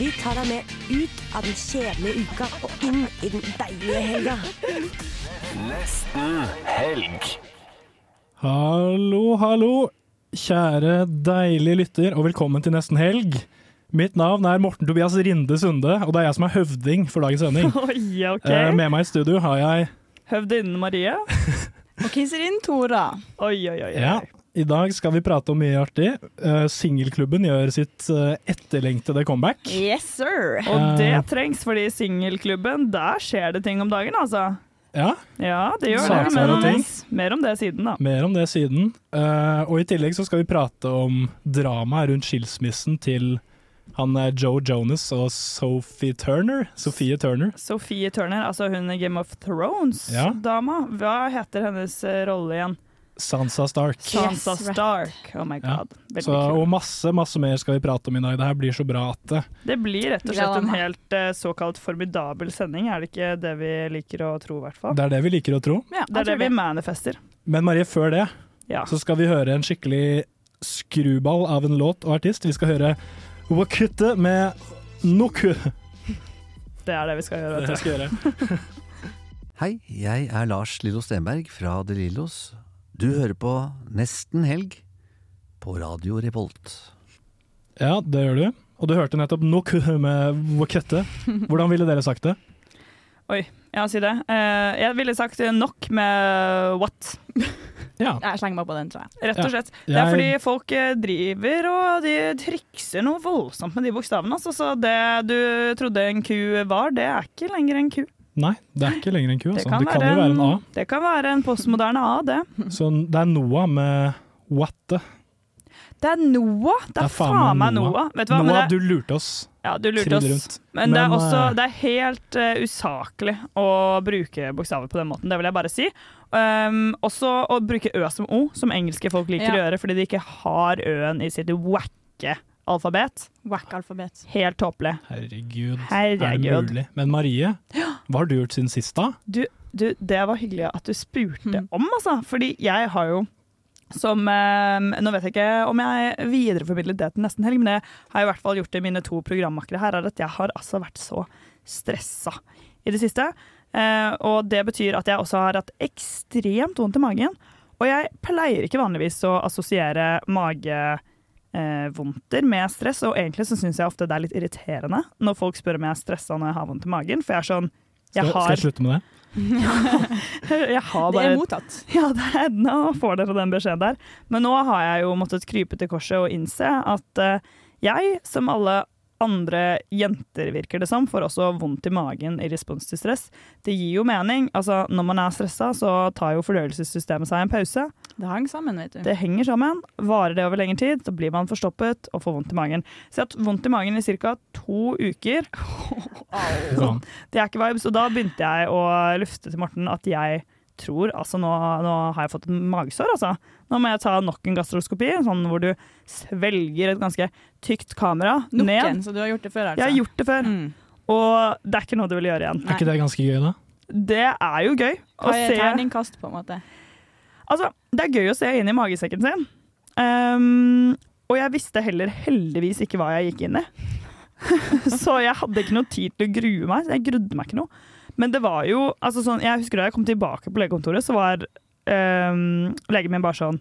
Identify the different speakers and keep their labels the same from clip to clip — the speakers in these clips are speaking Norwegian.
Speaker 1: Vi tar deg med ut av den kjedelige uka og inn i den deilige helga.
Speaker 2: Hallo, hallo, kjære deilige lytter, og velkommen til nesten helg. Mitt navn er Morten Tobias Rinde Sunde, og det er jeg som er høvding for dagens sending.
Speaker 3: Oi, ok.
Speaker 2: Eh, Med meg i studio har jeg
Speaker 3: Høvdinnen Marie.
Speaker 4: Og keiserinne Tora.
Speaker 3: Oi, oi, oi.
Speaker 2: Ja, i dag skal vi prate om mye artig. Eh, Singelklubben gjør sitt eh, etterlengtede comeback.
Speaker 4: Yes, sir.
Speaker 3: Og det trengs, fordi i singelklubben, der skjer det ting om dagen, altså.
Speaker 2: Ja,
Speaker 3: Ja, det gjør det.
Speaker 2: Saker og
Speaker 3: Men
Speaker 2: ting.
Speaker 3: mer om det siden, da.
Speaker 2: mer om det siden. Eh, Og i tillegg så skal vi prate om dramaet rundt skilsmissen til han er Joe Jonas og Sophie Turner. Sofie Turner.
Speaker 3: Sophie Turner, altså hun i Game of
Speaker 2: Ja.
Speaker 3: Thrones-dama. Hva heter hennes eh, rolle igjen?
Speaker 2: Sansa Stark.
Speaker 3: Sansa
Speaker 5: right.
Speaker 3: Stark. Oh my
Speaker 2: Ja.
Speaker 3: god. Veldig
Speaker 2: Så,
Speaker 3: kult.
Speaker 2: og masse masse mer skal vi prate om i dag. Det her blir så bra at det.
Speaker 3: Det blir rett og slett en
Speaker 5: Drama.
Speaker 3: helt eh, såkalt formidabel sending, er det ikke det vi liker å tro, i hvert fall?
Speaker 2: det er det vi liker å tro.
Speaker 4: Ja,
Speaker 3: Det er det vi manifester.
Speaker 2: Men Marie, før det
Speaker 3: Ja.
Speaker 2: så skal vi høre en skikkelig skruball av en låt og artist. Vi skal høre Wakutte med Noku.
Speaker 3: Det er det vi skal
Speaker 2: Det
Speaker 3: gjøre. vet du.
Speaker 2: skal jeg gjøre.
Speaker 6: Hei, jeg er Lars Lillo Stenberg fra De Lillos. Du hører på Nesten Helg på Radio Revolt.
Speaker 2: Ja, det gjør du. Og du hørte nettopp Noku med Wakutte. Hvordan ville dere sagt det?
Speaker 3: Ja, si det. Eh, jeg ville sagt nok med eh, what,
Speaker 2: Ja.
Speaker 4: Jeg slenger meg på den, tror jeg.
Speaker 3: rett og
Speaker 2: Ja.
Speaker 3: slett. Det er
Speaker 2: Jeg-
Speaker 3: fordi folk eh, driver og de trikser noe voldsomt med de bokstavene. Altså. Så det du trodde en ku var, det er ikke lenger en ku.
Speaker 2: Nei, det er ikke lenger en ku. Altså. Det kan, jo være en A.
Speaker 3: det kan være en postmoderne A, det.
Speaker 2: Så det er Noah med Watte.
Speaker 3: Det er Noah! Det er, faen meg Noah. Vet du hva?
Speaker 2: Noah,
Speaker 3: men
Speaker 2: du
Speaker 3: det,
Speaker 2: lurte oss.
Speaker 3: ja, du lurte
Speaker 2: Trill
Speaker 3: oss.
Speaker 2: rundt.
Speaker 3: Men, det er
Speaker 2: Men,
Speaker 3: også
Speaker 2: eh,
Speaker 3: det er helt eh, usaklig å bruke bokstaver på den måten. Det vil jeg bare si. Um, også å bruke ø som o, som engelske folk liker
Speaker 4: Ja.
Speaker 3: å gjøre fordi de ikke har ø-en i sitt wacke alfabet.
Speaker 4: Whack-alfabet.
Speaker 3: Helt tåpelig.
Speaker 2: Herregud, er
Speaker 3: Herregud.
Speaker 2: det mulig? Men Marie, hva har du gjort siden sist da?
Speaker 3: Du, du, det var hyggelig at du spurte
Speaker 4: Mm.
Speaker 3: om, altså. Fordi jeg har jo som um, Nå vet jeg ikke om jeg videreformidlet det til nesten helg, men det har jeg i hvert fall gjort til mine to programmakere her, er at jeg har altså vært så stressa i det siste. Eh, og det betyr at jeg også har hatt ekstremt vondt i magen. Og jeg pleier ikke vanligvis å assosiere magevondter med stress, og egentlig så syns jeg ofte det er litt irriterende når folk spør om jeg er stressa når jeg har vondt i magen, for jeg er sånn
Speaker 2: Skal,
Speaker 3: jeg
Speaker 2: skal
Speaker 3: har
Speaker 2: jeg slutte med det?
Speaker 3: jeg har
Speaker 4: Det
Speaker 3: bare
Speaker 4: er mottatt.
Speaker 3: Ja, det er, nå får dere den beskjeden der. Men nå har jeg jo måttet krype til korset og innse at eh, jeg, som alle andre jenter virker det som, får også vondt i magen i respons til stress. Det gir jo mening. Altså, når man er stressa, så tar jo fordøyelsessystemet seg en pause.
Speaker 4: Det hang sammen, vet du.
Speaker 3: Det henger sammen. Varer det over lengre tid, så blir man forstoppet og får vondt i magen. Så jeg har hatt vondt i magen i ca. to uker.
Speaker 2: Sånn.
Speaker 3: Det er ikke vibes. Og da begynte jeg å lufte til Morten at jeg tror Altså, nå, nå har jeg fått et magesår, altså. Nå må jeg ta nok en gastroskopi, sånn hvor du svelger et ganske tykt kamera
Speaker 4: Nok
Speaker 3: ned.
Speaker 4: en, så du har gjort det før, altså.
Speaker 3: Jeg har gjort det før,
Speaker 4: Mm.
Speaker 3: og det er ikke noe du vil gjøre igjen.
Speaker 2: Er ikke det ganske gøy da?
Speaker 3: Det er jo gøy å
Speaker 4: Hva er
Speaker 3: se
Speaker 4: terningkast, på en måte?
Speaker 3: Altså, det er gøy å se inn i magesekken sin. Ehm, og jeg visste heller heldigvis ikke hva jeg gikk inn i. så jeg hadde ikke noe tid til å grue meg, så jeg grudde meg ikke noe. Men det var jo, altså sånn, jeg husker da jeg kom tilbake på legekontoret, så var ehm, legen min bare sånn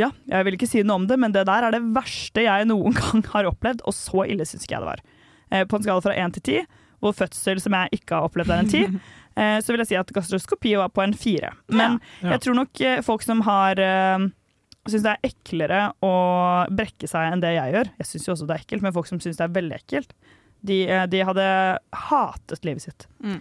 Speaker 3: Ja, jeg vil ikke si noe om det, men det der er det verste jeg noen gang har opplevd, og så ille syns ikke jeg det var. Eh, på en skala fra én til ti, hvor fødsel som jeg ikke har opplevd, er en ti, eh, så vil jeg si at gastroskopi var på en fire. Men
Speaker 2: Ja.
Speaker 3: jeg tror nok eh, folk som har eh, Syns det er eklere å brekke seg enn det jeg gjør. Jeg syns jo også det er ekkelt, men folk som syns det er veldig ekkelt, de, eh, de hadde hatet livet sitt.
Speaker 4: Mm.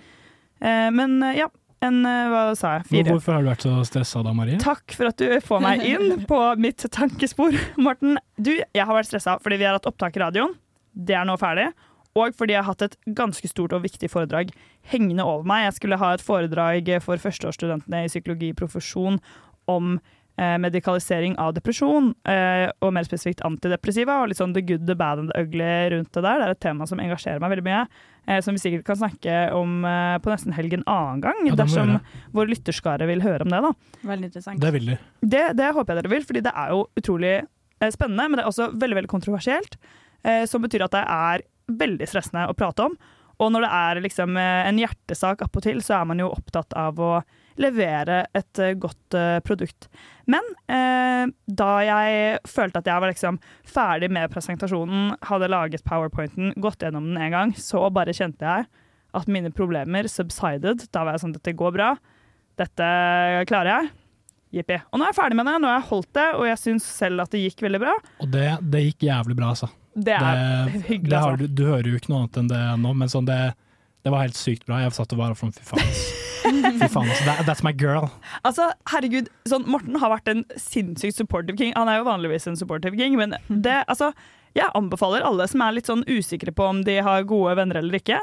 Speaker 3: Eh, men eh, ja, en eh, Hva sa jeg?
Speaker 2: Hvor-
Speaker 3: Fire.
Speaker 2: Hvorfor har du vært så stresset da, Marie?
Speaker 3: Takk for at du får meg inn på mitt tankespor, Morten. Du, jeg har vært stressa fordi vi har hatt opptak i radioen. Det er nå ferdig. Og fordi jeg har hatt et ganske stort og viktig foredrag hengende over meg. Jeg skulle ha et foredrag for førsteårsstudentene i psykologiprofesjon om eh, medikalisering av depresjon, eh, og mer spesifikt antidepressiva, og litt sånn the good, the bad and the ugly rundt det der. Det er et tema som engasjerer meg veldig mye, eh, som vi sikkert kan snakke om eh, på nesten helg en annen gang,
Speaker 2: Ja, det må vi
Speaker 3: dersom
Speaker 2: gjøre.
Speaker 3: vår lytterskare vil høre om det, da.
Speaker 4: Veldig interessant.
Speaker 2: Det vil de.
Speaker 3: Det, det håper jeg dere vil, fordi det er jo utrolig eh, spennende, men det er også veldig, veldig kontroversielt. eh, Som betyr at det er veldig stressende å prate om. Og når det er liksom eh, en hjertesak appåtil, så er man jo opptatt av å levere et eh, godt eh, produkt. Men eh, da jeg følte at jeg var liksom ferdig med presentasjonen, hadde laget powerpointen, gått gjennom den en gang, så bare kjente jeg at mine problemer subsided. Da var jeg sånn, dette går bra. Dette klarer jeg. Jippi. Og nå er jeg ferdig med det, nå har jeg holdt det, og jeg syns selv at det gikk veldig bra.
Speaker 2: Og det, det gikk jævlig bra, altså.
Speaker 3: Det er hyggelig,
Speaker 2: det har,
Speaker 3: altså.
Speaker 2: du, du hører jo ikke noe annet enn det nå, men sånn det, det var helt sykt bra. Jeg satt og var sånn fy faen. ass. Fy faen, ass. That, that's my girl.
Speaker 3: Altså, herregud, sånn, Morten har vært en sinnssykt supportive king. Han er jo vanligvis en supportive king, men det, altså, jeg anbefaler alle som er litt sånn usikre på om de har gode venner eller ikke,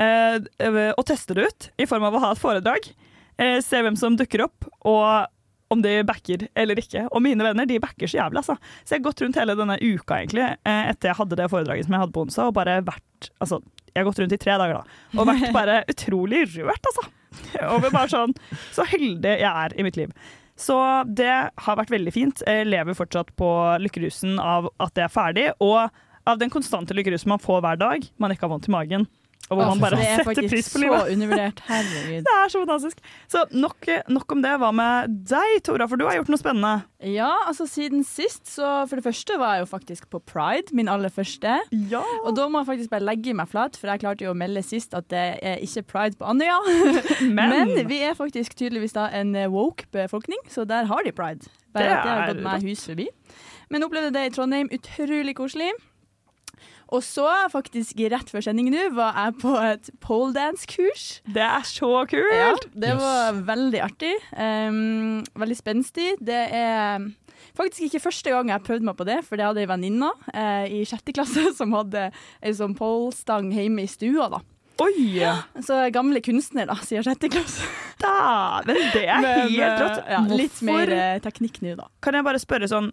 Speaker 3: eh, å teste det ut i form av å ha et foredrag. Eh, se hvem som dukker opp, og om de backer eller ikke. Og mine venner de backer så jævlig. altså. Så jeg har gått rundt hele denne uka egentlig, eh, etter jeg hadde det foredraget som jeg hadde på onsdag, og bare vært altså, Jeg har gått rundt i tre dager, da. Og vært bare utrolig rørt, altså. Over bare sånn Så heldig jeg er i mitt liv. Så det har vært veldig fint. Jeg lever fortsatt på lykkerusen av at det er ferdig, og av den konstante lykkerusen man får hver dag man ikke har vondt i magen. Og hvor
Speaker 4: Åh,
Speaker 3: man bare
Speaker 4: det er
Speaker 3: setter
Speaker 4: faktisk
Speaker 3: pris på
Speaker 4: Så
Speaker 3: livet.
Speaker 4: undervurdert. Herregud.
Speaker 3: Det er så fantastisk. Så nok, nok om det. Hva med deg, Tora? For du har gjort noe spennende.
Speaker 4: Ja, altså siden sist, så for det første var jeg jo faktisk på Pride, min aller første. Og da må jeg faktisk bare legge meg flat, for jeg klarte jo å melde sist at det er ikke Pride på Andøya.
Speaker 3: Men-
Speaker 4: vi er faktisk tydeligvis da en eh, woke befolkning, så der har de Pride. Bare
Speaker 3: Det
Speaker 4: at det har
Speaker 3: er
Speaker 4: gått meg
Speaker 3: rått.
Speaker 4: hus forbi. Men opplevde det i Trondheim, utrolig koselig. Og så, faktisk rett før sending nå, var jeg på et poledance-kurs.
Speaker 3: Det er så kult!
Speaker 4: Ja, det var veldig artig. Um, veldig spenstig. Det er faktisk ikke første gang jeg prøvde meg på det, for det hadde ei venninne eh, i sjette klasse som hadde ei sånn polestang hjemme i stua, da.
Speaker 3: Oi!
Speaker 4: Så gamle kunstner, da, sier sjette klasse.
Speaker 3: Dæven, det er
Speaker 4: Men,
Speaker 3: helt rått.
Speaker 4: eh, Ja, litt
Speaker 3: Hvorfor-
Speaker 4: mer eh, teknikk nå, da.
Speaker 3: Kan jeg bare spørre sånn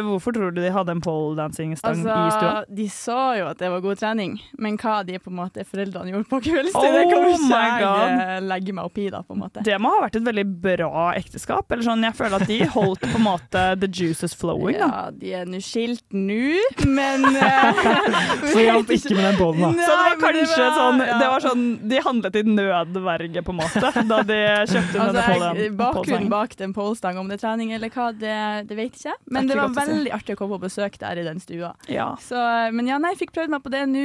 Speaker 3: Hvorfor tror du de hadde en poledancing-stang
Speaker 4: Altså,
Speaker 3: i stua?
Speaker 4: de sa jo at det var god trening, men hva de på en måte foreldrene gjorde på kveldstid,
Speaker 3: Oh
Speaker 4: det kan jo ikke
Speaker 3: my God.
Speaker 4: jeg eh, legge meg opp i, da, på en måte.
Speaker 3: Det må ha vært et veldig bra ekteskap. Eller sånn, jeg føler at de holdt på en måte the juices flowing. Da.
Speaker 4: Ja, de er nå skilt nå, men eh,
Speaker 2: Så hjalp ikke med den bollen, da.
Speaker 3: Så
Speaker 4: Nei,
Speaker 3: det var
Speaker 4: men det
Speaker 3: kanskje
Speaker 4: var-
Speaker 3: sånn,
Speaker 4: ja.
Speaker 3: det var sånn De handlet i nødverge, på en måte, da de kjøpte
Speaker 4: Altså,
Speaker 3: denne
Speaker 4: jeg,
Speaker 3: polen-
Speaker 4: bakgrunnen
Speaker 3: polesangen.
Speaker 4: bak den polestang, om det er trening eller hva, det, det vet ikke jeg. Men
Speaker 3: Det er
Speaker 4: det,
Speaker 3: ikke
Speaker 4: var
Speaker 3: godt å si.
Speaker 4: veldig artig å komme på besøk der i den stua.
Speaker 3: Ja.
Speaker 4: Så, eh, men ja, nei, jeg fikk prøvd meg på det nå.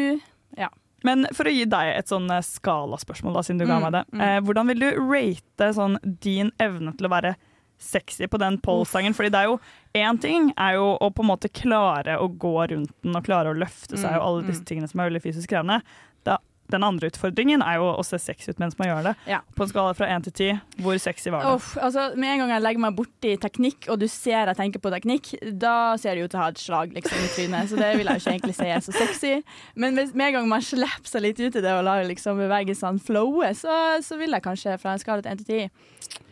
Speaker 4: Ja.
Speaker 3: Men for å gi deg et sånn eh, skalaspørsmål, da, siden du ga
Speaker 4: Mm,
Speaker 3: meg det. Eh, hvordan vil du rate sånn, din evne til å være sexy på den polesangen? Fordi det er jo én ting er jo å på en måte klare å gå rundt den og klare å løfte seg
Speaker 4: Mm,
Speaker 3: og alle disse
Speaker 4: mm.
Speaker 3: tingene som er veldig fysisk krevende. Da, den andre utfordringen er jo å se sexy ut mens man gjør det.
Speaker 4: Ja.
Speaker 3: På en skala fra én til ti, hvor sexy var du?
Speaker 4: Uff, altså, med en gang jeg legger meg borti teknikk, og du ser jeg tenker på teknikk, da ser det ut til å ha et slag liksom, i trynet. Så det vil jeg jo ikke egentlig si er så sexy. Men hvis, med en gang man slipper seg litt ut i det og lar liksom, bevegelsene flowe, så, så vil jeg kanskje fra en skala til 1 til 10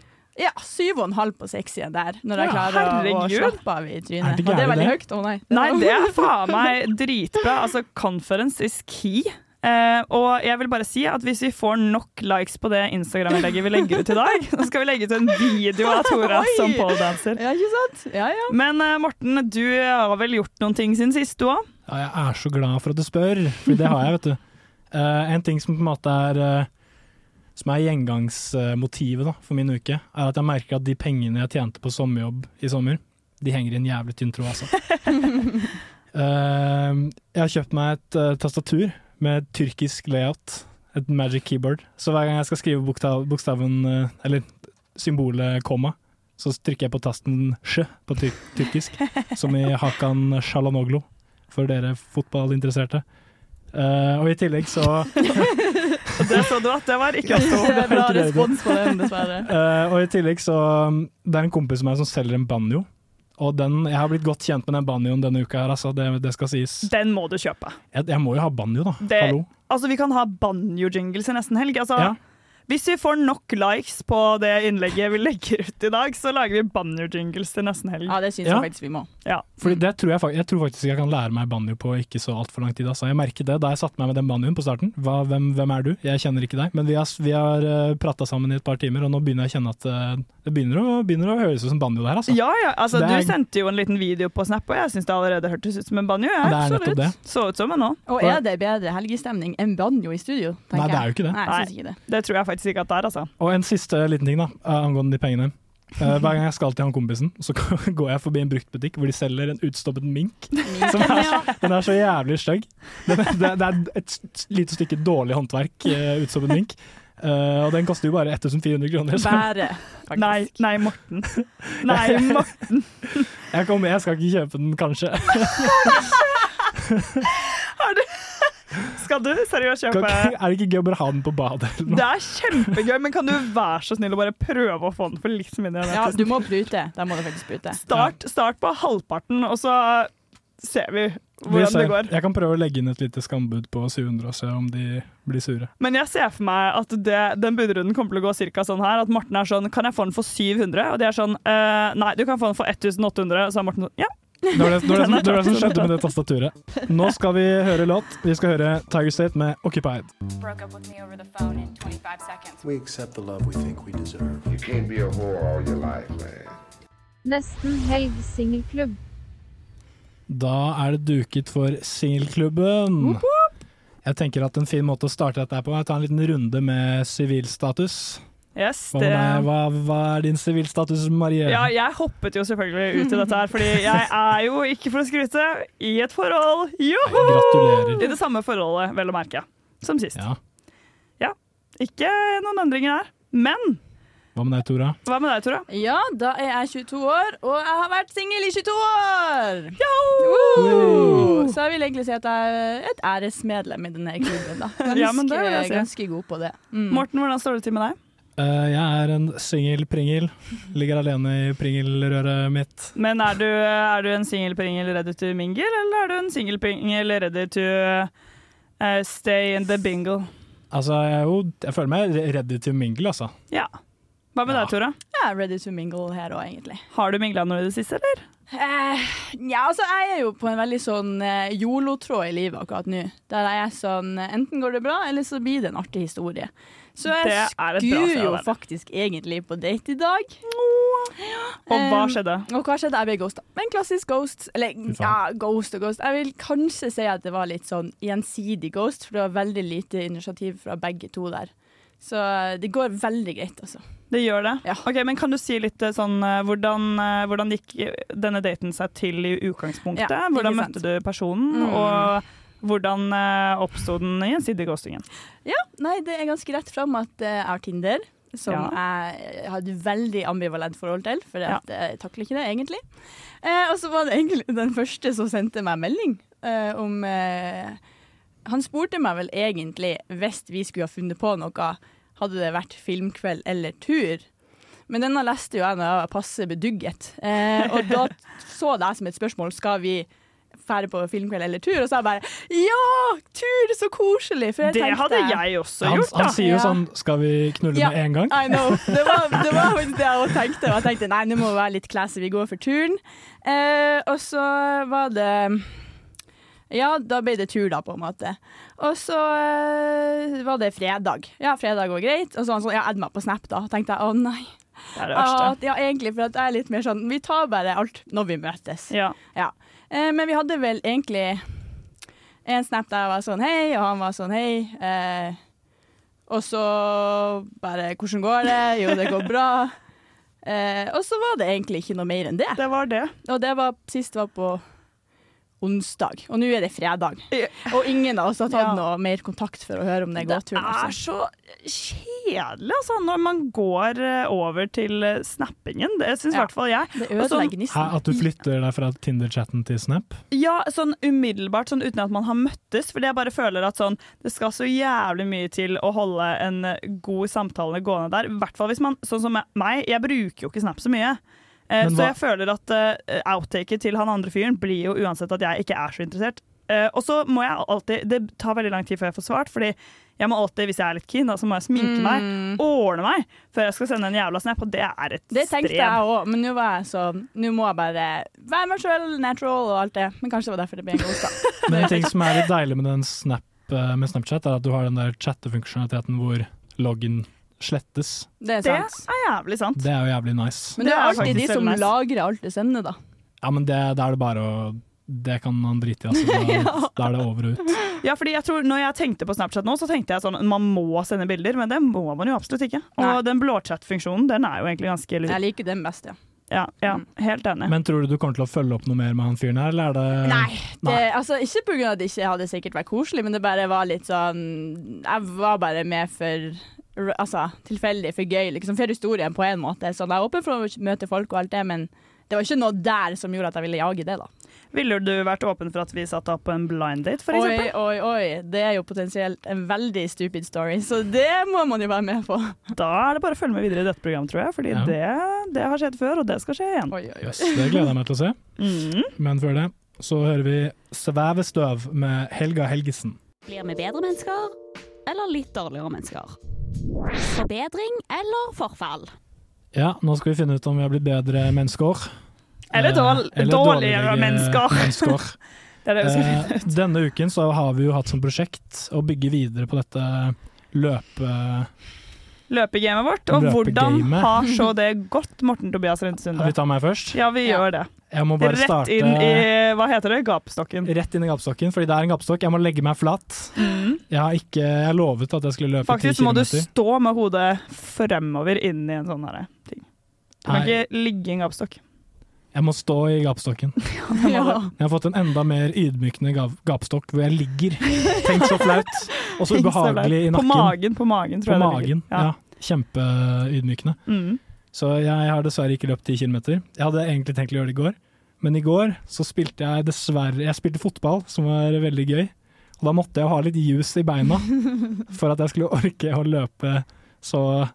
Speaker 4: ja, syv og en halv på sexyen der, når jeg
Speaker 3: Ja,
Speaker 4: klarer å, å
Speaker 3: herregud.
Speaker 4: slappe av i
Speaker 3: Er
Speaker 4: trynet.
Speaker 3: det
Speaker 4: Og det er
Speaker 3: gærent,
Speaker 4: veldig
Speaker 3: det?
Speaker 4: høyt. Å nei.
Speaker 3: Nei, det er faen meg dritbra. Altså, conference is key. Eh, og jeg vil bare si at hvis vi får nok likes på det Instagram-innlegget vi legger ut i dag, så skal vi legge ut en video av Tora
Speaker 4: Oi!
Speaker 3: som poledanser.
Speaker 4: Ja, ikke sant? Ja, ja.
Speaker 3: Men eh, Morten, du har vel gjort noen ting siden sist, du òg?
Speaker 2: Ja, jeg er så glad for at du spør, for det har jeg, vet du. Eh, en ting som på en måte er eh, Som er gjengangsmotivet da, for min uke, er at jeg merker at de pengene jeg tjente på sommerjobb i sommer, de henger i en jævlig tynn tråd, altså. Eh, jeg har kjøpt meg et eh, tastatur med tyrkisk layout, et magic keyboard. Så hver gang jeg skal skrive bokstav, bokstaven, eh, eller symbolet komma, så trykker jeg på tasten sj på tyr tyrkisk, som i Hakan Shalanoglu, for dere fotballinteresserte. Eh, og i tillegg så
Speaker 3: Og det så du at det var ikke oss to.
Speaker 4: Det er bra
Speaker 2: ikke det, du.
Speaker 4: respons på den, dessverre.
Speaker 2: Eh, og i tillegg så um, Det er en kompis av meg som selger en banjo. Og den, jeg har blitt godt kjent med den banjoen denne uka, her, altså. det, det skal sies.
Speaker 3: Den må du kjøpe.
Speaker 2: Jeg, jeg må jo ha banjo, da.
Speaker 3: Det,
Speaker 2: Hallo.
Speaker 3: altså, vi kan ha banjo-jingles i nesten helg. Altså,
Speaker 2: Ja.
Speaker 3: Hvis vi får nok likes på det innlegget vi legger ut i dag, så lager vi banjo-jingles til nesten helg.
Speaker 4: Ja, det syns
Speaker 2: Ja.
Speaker 4: jeg faktisk vi må.
Speaker 3: Ja.
Speaker 2: Fordi det tror jeg, fak- jeg tror faktisk jeg kan lære meg banjo på ikke så altfor lang tid. Altså. Jeg merket det da jeg satte meg med den banjoen på starten. Hva, hvem, hvem er du? Jeg kjenner ikke deg. Men vi har, s- vi har eh, prata sammen i et par timer, og nå begynner jeg å kjenne at eh, det begynner å, begynner å høres ut som banjo der, altså.
Speaker 3: Ja, ja. Altså,
Speaker 2: Det er-
Speaker 3: Du sendte jo en liten video på Snap, og jeg syns det allerede hørtes ut som en banjo.
Speaker 2: Det
Speaker 3: Ja,
Speaker 2: er
Speaker 3: absolutt.
Speaker 2: nettopp det.
Speaker 3: Så ut som en nå.
Speaker 4: Og er det bedre helgestemning enn banjo i studio?
Speaker 2: Nei,
Speaker 4: tenker
Speaker 2: det er jo
Speaker 4: jeg.
Speaker 2: ikke det.
Speaker 4: Nei, jeg synes ikke det.
Speaker 3: Det tror jeg faktisk ikke at det er, altså.
Speaker 2: Og en siste liten ting da, eh, angående de pengene. Eh, hver gang jeg skal til han kompisen, så går jeg forbi en bruktbutikk hvor de selger en utstoppet mink. Som er, den er så jævlig stygg. Det, det, det er et s- lite stykke dårlig håndverk, eh, utstoppet mink. Eh, og den koster jo bare 1400 kroner. Så
Speaker 4: Bare, faktisk.
Speaker 3: Nei, nei, Morten. Nei, Morten.
Speaker 2: jeg, kommer, jeg skal ikke kjøpe den, kanskje.
Speaker 3: Skal du seriøst
Speaker 2: Kan,
Speaker 3: kjøpe
Speaker 2: er det ikke gøy å bare ha den på badet? eller noe?
Speaker 3: Det er kjempegøy, men kan du være så snill å bare prøve å få den for litt mindre? enn
Speaker 4: Ja,
Speaker 3: dette?
Speaker 4: du må prute. Da må du faktisk prute.
Speaker 3: Start, start på halvparten, og så ser vi
Speaker 2: Vi
Speaker 3: hvordan
Speaker 2: ser.
Speaker 3: det går.
Speaker 2: Jeg kan prøve å legge inn et lite skambud på 700 og se om de blir sure.
Speaker 3: Men jeg ser for meg at det, den budrunden kommer til å gå cirka sånn her. At Morten er sånn Kan jeg få den for 700? Og de er sånn «Eh, Nei, du kan få den for 1800. Så er Morten sånn Ja.
Speaker 2: Det var det, det, var det, som, det var det som skjedde med det tastaturet. Nå skal vi høre låt. Vi skal høre Tiger State med Occupied.
Speaker 7: Nesten helg singelklubb.
Speaker 2: Da er det duket for singelklubben. Jeg tenker at En fin måte å starte dette her på er å ta en liten runde med sivilstatus.
Speaker 3: Yes,
Speaker 2: Hva, med
Speaker 3: det
Speaker 2: deg? hva, hva er din sivilstatus, Marie?
Speaker 3: ja, jeg hoppet jo selvfølgelig ut i dette her, fordi jeg er jo, ikke for å skryte, i et forhold. Joho!
Speaker 2: Gratulerer.
Speaker 3: I det samme forholdet, vel å merke, som sist.
Speaker 2: Ja.
Speaker 3: Ja. Ikke noen endringer der. Men
Speaker 2: Hva med deg, Tora?
Speaker 3: hva med deg, Tora?
Speaker 4: Ja, da er jeg 22 år, og jeg har vært singel i 22 år!
Speaker 2: Woo!
Speaker 4: Så jeg vil egentlig si at jeg er et æresmedlem i denne klubben. Da. Ganske,
Speaker 3: Ja, men det vil jeg si.
Speaker 4: ganske god på det. Mm.
Speaker 3: Morten, hvordan står det til med deg?
Speaker 2: Eh, jeg er en singel pringel. Ligger alene i pringelrøret mitt.
Speaker 3: Men er du, er du en singelpringel ready to mingle, eller er du en singelpringel ready to eh, stay in the bingle?
Speaker 2: Altså, jeg, er jo, jeg føler meg ready to mingle, altså.
Speaker 3: Ja. Hva med
Speaker 2: Ja.
Speaker 3: deg, Tora?
Speaker 4: Jeg er ready to mingle her òg, egentlig.
Speaker 3: Har du mingla noe i det siste, eller?
Speaker 4: Eh, ja, altså, jeg er jo på en veldig sånn eh, yolo-tråd i livet akkurat nå. Der er jeg sånn eh, Enten går det bra, eller så blir det en artig historie. Så
Speaker 3: Det er
Speaker 4: jeg
Speaker 3: et bra
Speaker 4: skulle
Speaker 3: sted å
Speaker 4: jo
Speaker 3: være.
Speaker 4: faktisk egentlig på date i dag.
Speaker 3: Og hva
Speaker 4: Em,
Speaker 3: skjedde?
Speaker 4: Og hva skjedde? Jeg ble ghosta. En klassisk ghost. Eller
Speaker 2: Fy faen.
Speaker 4: ja, ghost og ghost. Jeg vil kanskje si at det var litt sånn gjensidig ghost, for det var veldig lite initiativ fra begge to der. Så eh, det går veldig greit, altså.
Speaker 3: Det gjør det?
Speaker 4: Ja.
Speaker 3: Ok, men Kan du si litt eh, sånn eh, hvordan, eh, hvordan gikk denne daten seg til i utgangspunktet?
Speaker 4: Ja, ikke
Speaker 3: hvordan
Speaker 4: sant.
Speaker 3: møtte du personen,
Speaker 4: Mm.
Speaker 3: og hvordan eh, oppsto den gjensidige ghostingen?
Speaker 4: Ja, nei, det er ganske rett fram at eh, jeg har Tinder, som jeg hadde veldig ambivalent forhold til, for
Speaker 3: Ja.
Speaker 4: at, eh, jeg takler ikke det egentlig. Eh, og så var det egentlig den første som sendte meg melding eh, om eh, Han spurte meg vel egentlig hvis vi skulle ha funnet på noe, hadde det vært filmkveld eller tur. Men denne leste jo jeg når jeg var passe bedugget, eh, og da så det jeg som et spørsmål. Skal vi fære på filmkveld eller tur? Og så jeg bare ja! Tur, så koselig! For jeg
Speaker 3: Det
Speaker 4: tenkte-
Speaker 3: hadde jeg også
Speaker 2: Han,
Speaker 3: gjort, da.
Speaker 2: han sier jo
Speaker 4: Ja.
Speaker 2: sånn 'skal vi knulle
Speaker 4: Ja.
Speaker 2: med en gang'?
Speaker 4: I know. Det var, det var faktisk det jeg også tenkte. Og jeg tenkte nei, nå må vi være litt classy, vi går for turen. Eh, og så var det Ja, da ble det tur, da, på en måte. Og så eh, var det fredag. Ja, fredag går greit. Og så var han sånn, jeg adde meg på Snap, da. Og tenkte jeg å nei.
Speaker 3: Det er det verste.
Speaker 4: At, ja, egentlig, for at jeg er litt mer sånn Vi tar bare alt når vi møtes.
Speaker 3: Ja.
Speaker 4: Ja. Eh, men vi hadde vel egentlig en snap der jeg var sånn hei, og han var sånn hei. Eh, og så bare Hvordan går det? Jo, det går bra. Eh, og så var det egentlig ikke noe mer enn det.
Speaker 3: Det var det.
Speaker 4: Og det var sist var på onsdag, og nå er det fredag.
Speaker 3: Ja.
Speaker 4: Og ingen av oss har tatt
Speaker 3: Ja.
Speaker 4: noe mer kontakt for å høre om den
Speaker 3: Det er
Speaker 4: gåturen. Altså.
Speaker 3: så kjedelig altså, når man går eh, over til eh, snappingen. Det syns i
Speaker 4: Ja.
Speaker 3: hvert fall jeg.
Speaker 4: Det
Speaker 3: Og sånn-
Speaker 4: ødelegger
Speaker 2: Hæ,
Speaker 4: gnisten.
Speaker 2: at du flytter deg fra Tinder-chatten til Snap?
Speaker 3: Ja, sånn umiddelbart, sånn uten at man har møttes. Fordi jeg bare føler at sånn, det skal så jævlig mye til å holde en eh, god samtale gående der. I hvert fall hvis man, sånn som jeg- meg, jeg bruker jo ikke Snap så mye. Eh, Eh,
Speaker 2: Men
Speaker 3: så
Speaker 2: hva-
Speaker 3: jeg føler at eh, outtaket til han andre fyren blir jo uansett at jeg ikke er så interessert. Eh, og så må jeg alltid Det tar veldig lang tid før jeg får svart, Fordi jeg må alltid, hvis jeg er litt keen, da, så må jeg sminke meg, ordne meg, før jeg skal sende en jævla snap, og det er et
Speaker 4: Mm. Det tenkte jeg
Speaker 3: strev.
Speaker 4: òg, men nå var jeg sånn Nå må jeg bare være meg sjøl, natural og alt det. Men kanskje det var derfor det ble en ghost, da.
Speaker 2: Men en ting som er litt deilig med, den snap, eh, med Snapchat, er at du har den der chattefunksjonaliteten hvor loggen slettes.
Speaker 4: Det er
Speaker 3: Det
Speaker 4: sant.
Speaker 3: er jævlig sant.
Speaker 2: Det er jo jævlig nice.
Speaker 4: Men det er alltid de
Speaker 2: faktisk
Speaker 4: som
Speaker 2: veldig nice.
Speaker 4: lagrer alt du sender, da.
Speaker 2: Ja, men det, da er det bare å Det kan han drite i, altså. Da,
Speaker 3: Ja.
Speaker 2: da er det over og ut.
Speaker 3: Ja, fordi jeg tror Når jeg tenkte på Snapchat nå, så tenkte jeg sånn man må sende bilder, men det må man jo absolutt ikke. Og den blåchat-funksjonen, den er jo egentlig ganske lur.
Speaker 4: Jeg Mm. liker den best, ja.
Speaker 3: Ja, ja helt enig.
Speaker 2: Men tror du du kommer til å følge opp noe mer med han fyren her, eller er det
Speaker 4: Nei, det, altså Ikke pga. at det ikke hadde sikkert vært koselig, men det bare var litt sånn Jeg var bare med for altså, tilfeldig, for gøy, liksom. For historien, på en måte. Sånn, jeg er åpen for å møte folk og alt det, men det var ikke noe der som gjorde at jeg ville jage det, da.
Speaker 3: Ville du vært åpen for at vi satte opp på en blind date, for
Speaker 4: oi,
Speaker 3: eksempel?
Speaker 4: oi, oi. Det er jo potensielt en veldig stupid story, så det må man jo være med på.
Speaker 3: Da er det bare å følge med videre i dette programmet, tror jeg. Fordi
Speaker 2: Ja.
Speaker 3: det, det har skjedd før, og det skal skje igjen.
Speaker 2: Yes, det gleder jeg meg til å se.
Speaker 3: Mhm.
Speaker 2: Men før det så hører vi Svevestøv med Helga Helgesen.
Speaker 8: Blir vi bedre mennesker, eller litt dårligere mennesker? Forbedring eller forfall?
Speaker 2: Ja, nå skal vi finne ut om vi har blitt bedre mennesker.
Speaker 3: Eller
Speaker 2: Eh,
Speaker 3: dårl- dårligere mennesker.
Speaker 2: mennesker.
Speaker 3: Det er det vi skal
Speaker 2: Eh,
Speaker 3: finne ut.
Speaker 2: Denne uken så har vi jo hatt som prosjekt å bygge videre på dette løpe...
Speaker 3: Løpegamet vårt, og hvordan
Speaker 2: Løpegamet.
Speaker 3: har så det gått, Morten Tobias Rundesunde?
Speaker 2: Vil du ta meg først?
Speaker 3: Ja, vi gjør det.
Speaker 2: Jeg må bare
Speaker 3: Rett
Speaker 2: starte-
Speaker 3: inn i Hva heter det? Gapestokken?
Speaker 2: Rett inn i gapestokken, fordi det er en gapestokk. Jeg må legge meg flat. Jeg har ikke jeg lovet at jeg skulle løpe
Speaker 3: Mm. Faktisk
Speaker 2: 10
Speaker 3: må du
Speaker 2: kilometer.
Speaker 3: stå med hodet fremover inn i en sånn her ting. Du kan
Speaker 2: Nei.
Speaker 3: ikke ligge i en gapestokk.
Speaker 2: Jeg må stå i gapestokken. Jeg har fått en enda mer ydmykende gav- gapestokk hvor jeg ligger. Tenk så flaut, og så
Speaker 3: Tenk flaut.
Speaker 2: ubehagelig i nakken.
Speaker 3: På magen, på magen, tror
Speaker 2: På
Speaker 3: jeg. det ligger.
Speaker 2: magen, ja. Kjempeydmykende.
Speaker 3: Mm.
Speaker 2: Så jeg har dessverre ikke løpt 10 km. Jeg hadde egentlig tenkt å gjøre det i går, men i går så spilte jeg dessverre Jeg spilte fotball, som var veldig gøy. Og da måtte jeg ha litt juice i beina for at jeg skulle orke å løpe så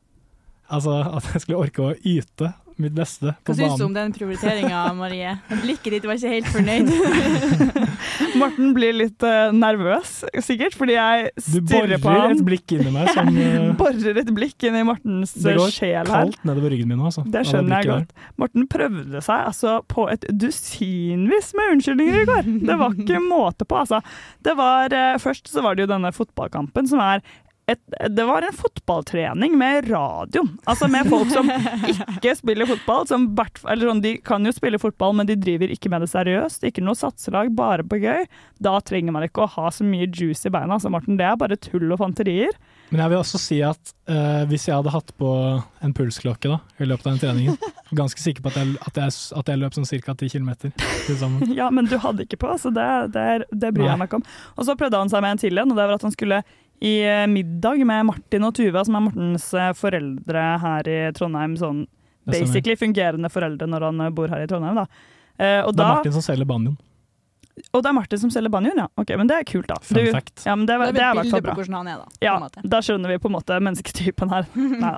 Speaker 2: Altså at jeg skulle orke å yte mitt beste på
Speaker 4: Hva syns du om
Speaker 2: banen.
Speaker 4: den prioriteringa, Marie? Blikket ditt var ikke helt fornøyd.
Speaker 3: Morten blir litt eh, nervøs, sikkert, fordi jeg
Speaker 2: Du
Speaker 3: stirrer på
Speaker 2: borer
Speaker 3: ham.
Speaker 2: et blikk inni meg som eh,
Speaker 3: Borer et blikk inn i Mortens
Speaker 2: Det går
Speaker 3: sjel her.
Speaker 2: kaldt nedover ryggen min nå, altså.
Speaker 3: Det
Speaker 2: av
Speaker 3: skjønner jeg
Speaker 2: blikket der.
Speaker 3: godt. Morten prøvde seg altså på et dusinvis med unnskyldninger i går. Det var ikke måte på, altså. Det var, eh, først så var det jo denne fotballkampen som er et, det var en fotballtrening med radio. Altså med folk som ikke spiller fotball. Som, hvert- eller sånn, de kan jo spille fotball, men de driver ikke med det seriøst. Ikke noe satselag, bare på gøy. Da trenger man ikke å ha så mye juice i beina. Altså, Morten, det er bare tull og fanterier.
Speaker 2: Men jeg vil også si at eh, hvis jeg hadde hatt på en pulsklokke da, i løpet av den treningen, ganske sikker på at jeg, at jeg, at jeg løp sånn ca. 10 km til sammen.
Speaker 3: Ja, men du hadde ikke på, så det, det, er- det bryr jeg
Speaker 2: Nei.
Speaker 3: meg ikke om. Og så prøvde han seg med en til en, og det var at han skulle i eh, middag med Martin og Tuva, som er Mortens eh, foreldre her i Trondheim, sånn
Speaker 2: Det stemmer.
Speaker 3: basically fungerende foreldre når han eh, bor her i Trondheim, da. Eh, og
Speaker 2: det er
Speaker 3: da-
Speaker 2: Martin som selger banjoen.
Speaker 3: og det er Martin som selger banjoen, ja. Ok, Men det er kult, da.
Speaker 2: Fun fact.
Speaker 3: Ja, men det, det er
Speaker 4: Da
Speaker 3: i hvert
Speaker 4: har vi et
Speaker 3: fall
Speaker 4: bilde
Speaker 3: bra.
Speaker 4: på hvordan han er, da.
Speaker 3: Ja, da skjønner vi på en måte mennesketypen her. Neida.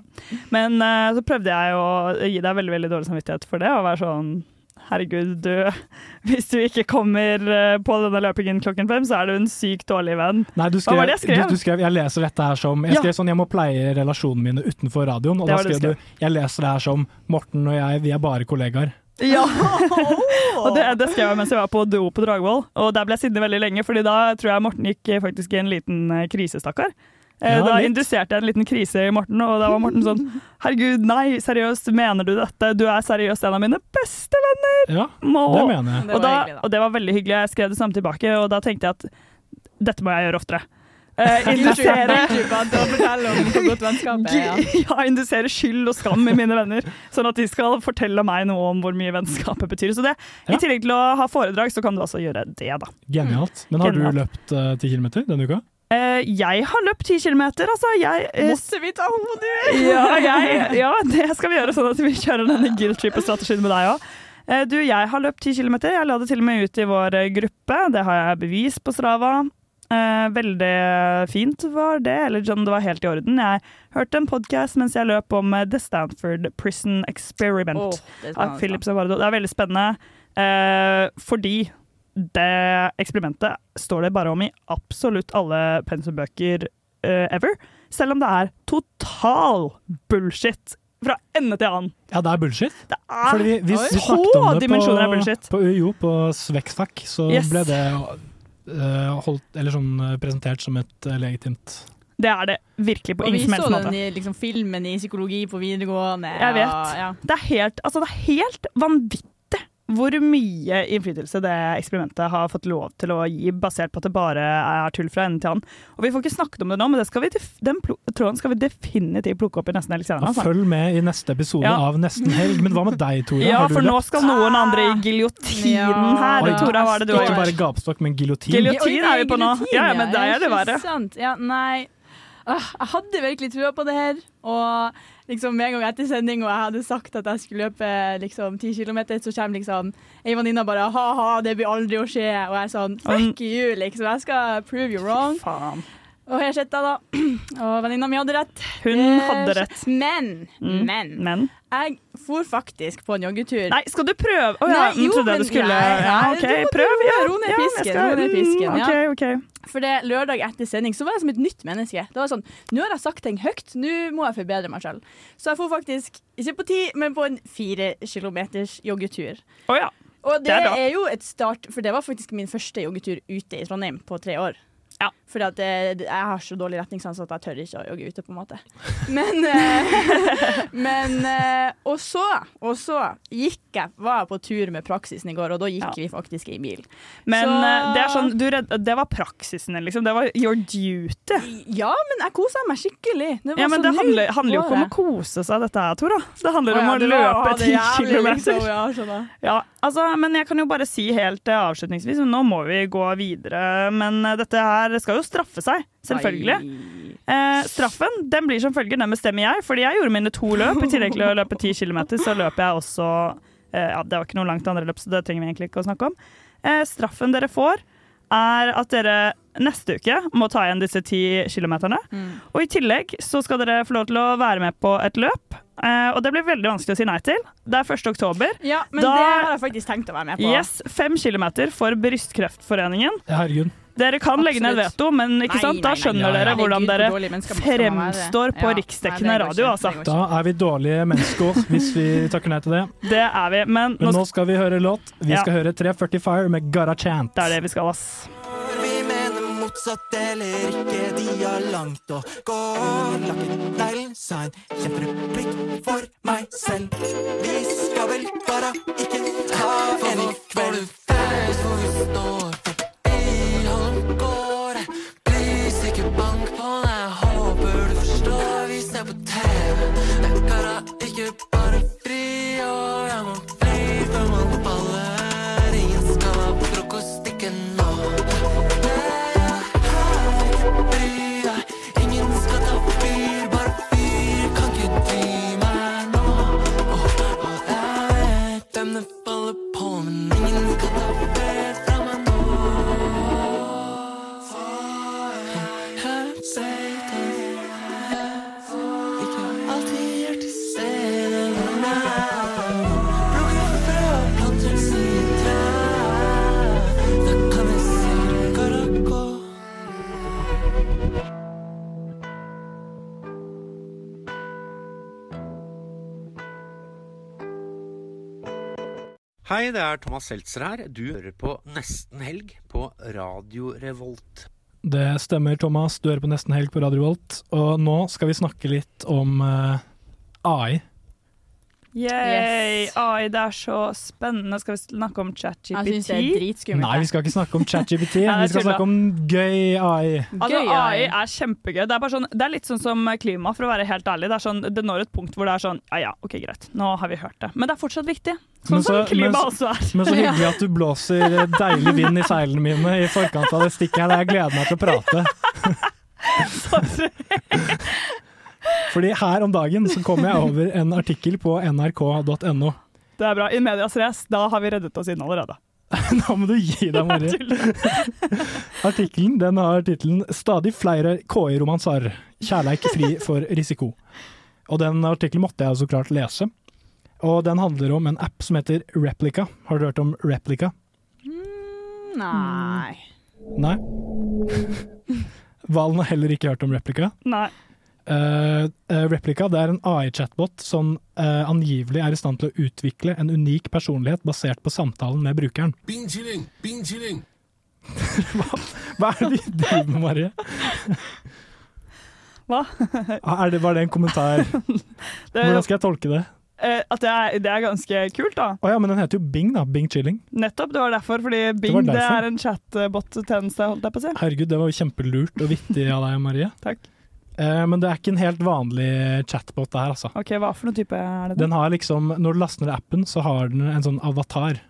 Speaker 3: Men eh, så prøvde jeg å gi deg veldig veldig dårlig samvittighet for det, og være sånn Herregud, du Hvis du ikke kommer eh, på denne løpingen klokken fem, så er du en sykt dårlig venn.
Speaker 2: Nei, du skrev,
Speaker 3: Hva var det jeg skrev?
Speaker 2: Du, du skrev jeg leser dette her som Jeg
Speaker 3: Ja.
Speaker 2: skrev sånn, jeg må pleie relasjonene mine utenfor radioen. Og
Speaker 3: Det
Speaker 2: da
Speaker 3: var det
Speaker 2: skrev
Speaker 3: du
Speaker 2: du jeg leser det her som Morten og jeg, vi er bare kollegaer.
Speaker 3: Ja! og det, det skrev jeg mens jeg var på do på Dragvoll, og der ble jeg sittende veldig lenge, fordi da tror jeg Morten gikk eh, faktisk i en liten eh, krise, stakkar. Eh,
Speaker 2: Ja,
Speaker 3: da
Speaker 2: litt.
Speaker 3: induserte jeg en liten krise i Morten, og da var Morten sånn Herregud, nei, seriøst, mener du dette? Du er seriøst en av mine beste venner!
Speaker 2: Ja,
Speaker 3: Må.
Speaker 2: det mener jeg.
Speaker 3: Og, da, og det var veldig hyggelig. Jeg skrev det samme tilbake, og da tenkte jeg at dette må jeg gjøre oftere. Eh, indusere
Speaker 4: Fortell om hvor godt vennskapet er.
Speaker 3: ja.
Speaker 4: Ja.
Speaker 3: indusere skyld og skam i mine venner, sånn at de skal fortelle meg noe om hvor mye vennskapet betyr. Så det, I tillegg til å ha foredrag, så kan du altså gjøre det, da.
Speaker 2: Genialt. Men har
Speaker 3: Genialt.
Speaker 2: du løpt eh, 10 km denne uka?
Speaker 3: Eh, jeg har løpt 10 km, altså. Jeg, eh,
Speaker 4: Måtte vi ta hodet
Speaker 3: ja, jeg, ja, det skal vi gjøre, sånn at vi kjører denne guilt trip-strategien med deg òg. Du, eh, jeg har løpt 10 km. Jeg la det til og med ut i vår eh, gruppe. Det har jeg bevis på Strava. Eh, veldig fint var det, eller sånn, det var helt i orden. Jeg hørte en podkast mens jeg løp om eh, The Stanford Prison
Speaker 8: Åh,
Speaker 3: Experiment
Speaker 8: det er spennende.
Speaker 3: av Philip Savardo. Det er veldig spennende, eh, fordi det eksperimentet står det bare om i absolutt alle pensumbøker eh, ever. Selv om det er total bullshit fra ende til annen.
Speaker 2: Ja, det er bullshit.
Speaker 3: er
Speaker 2: Fordi vi, vi
Speaker 3: så
Speaker 2: snakket om det
Speaker 3: dimensjoner er
Speaker 2: på,
Speaker 3: bullshit.
Speaker 2: på UiO, på Svekkstakk, så
Speaker 3: Yes.
Speaker 2: ble det eh, holdt, eller sånn, eh, presentert som et eh, legitimt
Speaker 3: Det er det virkelig på
Speaker 4: og vi
Speaker 3: ingen som
Speaker 4: så
Speaker 3: helst måte.
Speaker 4: den i liksom, filmen i psykologi på videregående.
Speaker 3: Jeg
Speaker 4: og- ja.
Speaker 3: vet. Det er helt, altså det er helt vanvittig hvor mye innflytelse det eksperimentet har fått lov til å gi, basert på at det bare er tull fra ende til annen. Og vi får ikke snakket om det nå, men det skal vi, def- den plo- tråden skal vi definitivt plukke opp i nesten helg senere.
Speaker 2: Og
Speaker 3: Altså.
Speaker 2: Følg med i neste episode
Speaker 3: Ja.
Speaker 2: av Nesten helg. Men hva med deg, Tora?
Speaker 3: Ja,
Speaker 2: Har du
Speaker 3: for nå
Speaker 2: løpt?
Speaker 3: skal noen andre i giljotinen her.
Speaker 2: Oi,
Speaker 3: Tora, hva er det du har
Speaker 2: Ikke bare
Speaker 3: gjort?
Speaker 2: gapestokk, men giljotin.
Speaker 3: Giljotin er vi på nå.
Speaker 4: Giljotin,
Speaker 3: Ja, ja, men deg
Speaker 4: ja,
Speaker 3: er det
Speaker 4: ikke
Speaker 3: verre.
Speaker 4: sant. Ja, nei. Ah, Jeg hadde virkelig trua på det her. Og liksom med en gang etter sending og jeg hadde sagt at jeg skulle løpe liksom, 10 km, så kommer liksom ei venninne bare ha-ha, det blir aldri å skje. Og jeg er sånn fuck you, liksom. Jeg skal prove you wrong.
Speaker 3: Faen.
Speaker 4: Og her sitter jeg, da. Og venninna mi hadde rett.
Speaker 3: Hun
Speaker 4: Det
Speaker 3: hadde
Speaker 4: skje-
Speaker 3: rett.
Speaker 4: Men,
Speaker 3: Mm,
Speaker 4: men.
Speaker 3: men.
Speaker 4: Jeg for faktisk på en joggetur.
Speaker 3: Nei, skal du prøve? Å ja,
Speaker 4: Nei,
Speaker 3: nå
Speaker 4: jo,
Speaker 3: trodde
Speaker 4: men-
Speaker 3: jeg du skulle
Speaker 4: Nei,
Speaker 3: Ja,
Speaker 4: nei,
Speaker 3: OK,
Speaker 4: du må- du
Speaker 3: prøv.
Speaker 4: må
Speaker 3: Ja,
Speaker 4: Ro ned
Speaker 3: ja, jeg
Speaker 4: pisken.
Speaker 3: skal-
Speaker 4: Ro ned pisken
Speaker 3: Mm, OK,
Speaker 4: ja.
Speaker 3: OK.
Speaker 4: For det lørdag etter sending så var jeg som et nytt menneske. Det var sånn, Nå har jeg sagt ting høyt, nå må jeg forbedre meg sjøl. Så jeg får faktisk, ikke på ti, men på en fire kilometers joggetur.
Speaker 3: Å ja.
Speaker 4: Og det,
Speaker 3: Det er bra.
Speaker 4: er, jo et start, for det var faktisk min første joggetur ute i Trondheim på tre år.
Speaker 3: Ja.
Speaker 4: Fordi at eh, jeg har så dårlig retningssans at jeg tør ikke å jogge ute, på en måte. Men, eh, men eh, Og så, og så gikk jeg, var jeg på tur med praksisen i går, og da gikk vi faktisk i bil.
Speaker 3: Men
Speaker 4: Så-
Speaker 3: eh, det er sånn, du redd, det var praksisen din, liksom. Det var your duty.
Speaker 4: Ja, men jeg kosa meg skikkelig. Det var
Speaker 3: Ja, men
Speaker 4: så
Speaker 3: det
Speaker 4: nytt
Speaker 3: handler, handler jo ikke om å
Speaker 4: året.
Speaker 3: kose seg, dette her, Tora. Det handler
Speaker 4: Å ja,
Speaker 3: om å
Speaker 4: det var å ha
Speaker 3: løpe
Speaker 4: det
Speaker 3: ti
Speaker 4: jævlig, liksom,
Speaker 3: kilometer.
Speaker 4: ja, skjønner.
Speaker 3: Ja, altså, men jeg kan jo bare si helt eh, avslutningsvis, nå må vi gå videre. Men eh, dette her skal jo straffe seg, selvfølgelig. Eh, straffen den blir som følger, den bestemmer jeg, fordi jeg gjorde mine to løp. I tillegg til å løpe ti kilometer, så løper jeg også eh, Ja, det var ikke noe langt andre løp, så det trenger vi egentlig ikke å snakke om. Eh, straffen dere får, er at dere neste uke må ta igjen disse ti kilometerne.
Speaker 4: Mm.
Speaker 3: Og i tillegg så skal dere få lov til å være med på et løp. Eh, og det blir veldig vanskelig å si nei til. Det er 1. oktober.
Speaker 4: Ja, men
Speaker 3: Da-
Speaker 4: det har jeg faktisk tenkt å være med på.
Speaker 3: Yes, fem kilometer for Brystkreftforeningen.
Speaker 2: Herregud.
Speaker 3: Dere kan legge ned
Speaker 4: Absolutt.
Speaker 3: veto, men ikke
Speaker 4: Nei,
Speaker 3: sant? da
Speaker 4: nei, nei,
Speaker 3: skjønner
Speaker 4: nei, nei.
Speaker 3: dere hvordan
Speaker 4: Herregud, hvor
Speaker 3: dere
Speaker 4: dårlige mennesker må man være.
Speaker 3: fremstår på
Speaker 4: Ja, nei,
Speaker 3: riksdekkende
Speaker 4: det går
Speaker 3: radio.
Speaker 4: ikke,
Speaker 3: Altså.
Speaker 4: det går
Speaker 2: Da er vi dårlige mennesker hvis vi takker nei til det.
Speaker 3: Det er vi, men
Speaker 2: Men nå
Speaker 3: nå
Speaker 2: skal vi høre låt. Vi
Speaker 3: Ja.
Speaker 2: skal høre 340 Fire med Gara Chant.
Speaker 3: Det er det vi skal, ass.
Speaker 9: Vi mener motsatt eller ikke, de har langt å gå. Lakketneglen sa en kjempereplikk for meg selv. Vi skal vel bare ikke ta en i kveld. Fæls hvor vi står, for Øyholm går. Please, ikke bank på meg, håper du forstår. Vi ser på TV. Det er kara, ikke bare fri, og jeg må fly før man faller. Ingen skal ha frokost, ikke nå. Ingen skal ta fyr, bare fyr Kan ikke dy meg nå Og, og jeg vet hvem det faller på Men ingen skal ta fyr fra meg nå For jeg vet at Ikke alltid er til stede når jeg Plukker frø og planter sider Da kan jeg si det går og går
Speaker 10: Hei, det er Thomas Seltzer her. Du hører på Nesten Helg på Radio Revolt.
Speaker 2: Det stemmer, Thomas. Du hører på Nesten helg på Radio Volt. Og nå skal vi snakke litt om eh, AI.
Speaker 3: Yay. Oi, det er så spennende. Skal vi snakke om ChatGPT?
Speaker 4: Jeg synes det er dritskummelt.
Speaker 2: Nei, vi skal ikke snakke om ChatGPT.
Speaker 3: Nei,
Speaker 2: vi
Speaker 3: det er
Speaker 2: skal
Speaker 3: tulla.
Speaker 2: snakke om gøy AI.
Speaker 3: Altså, AI er kjempegøy. Det er, bare sånn, det er litt sånn som klima, for å være helt ærlig. Det, er sånn, det når et punkt hvor det er sånn Ja ja, OK, greit, nå har vi hørt det. Men det er fortsatt viktig. Sånn
Speaker 2: Men så-
Speaker 3: som klima
Speaker 2: men så-
Speaker 3: også er.
Speaker 2: Men så hyggelig at du blåser deilig vind i seilene mine i forkant av det stikket her. Jeg gleder meg til å prate. Fordi her om dagen så kom jeg over en artikkel på nrk.no.
Speaker 3: Det er bra. I medias race, da har vi reddet oss inn allerede.
Speaker 2: Nå må du gi deg, Mari. Artikkelen den har tittelen 'Stadig flere KI-romanser. Kjærleik fri for risiko'. Og Den artikkelen måtte jeg så klart lese. Og Den handler om en app som heter Replica. Har du hørt om Replica?
Speaker 4: Nei.
Speaker 2: Nei? Valen har heller ikke hørt om Replica.
Speaker 3: Nei.
Speaker 2: Eh, eh, Replica det er en AI-chatbot som eh, angivelig er i stand til å utvikle en unik personlighet basert på samtalen med brukeren. Hva er det de driver med, Marie?
Speaker 3: Hva?
Speaker 2: Er det, var det en kommentar?
Speaker 3: Det er-
Speaker 2: Hvordan skal jeg tolke det?
Speaker 3: Eh, At det er, det er ganske kult, da.
Speaker 2: Å ja, men den heter jo Bing, da. Bing Chilling.
Speaker 3: Nettopp, det var derfor. Fordi Bing
Speaker 2: var
Speaker 3: det,
Speaker 2: derfor.
Speaker 3: er en chatbot-tjeneste, holdt jeg på å si.
Speaker 2: Herregud, det var jo kjempelurt og vittig av deg, Marie.
Speaker 3: Takk.
Speaker 2: Eh, men det er ikke en helt vanlig chatbot, det her, altså.
Speaker 3: Ok, Hva for noen type er det? da?
Speaker 2: Den har liksom, når du laster ned appen, så har den en sånn avatar.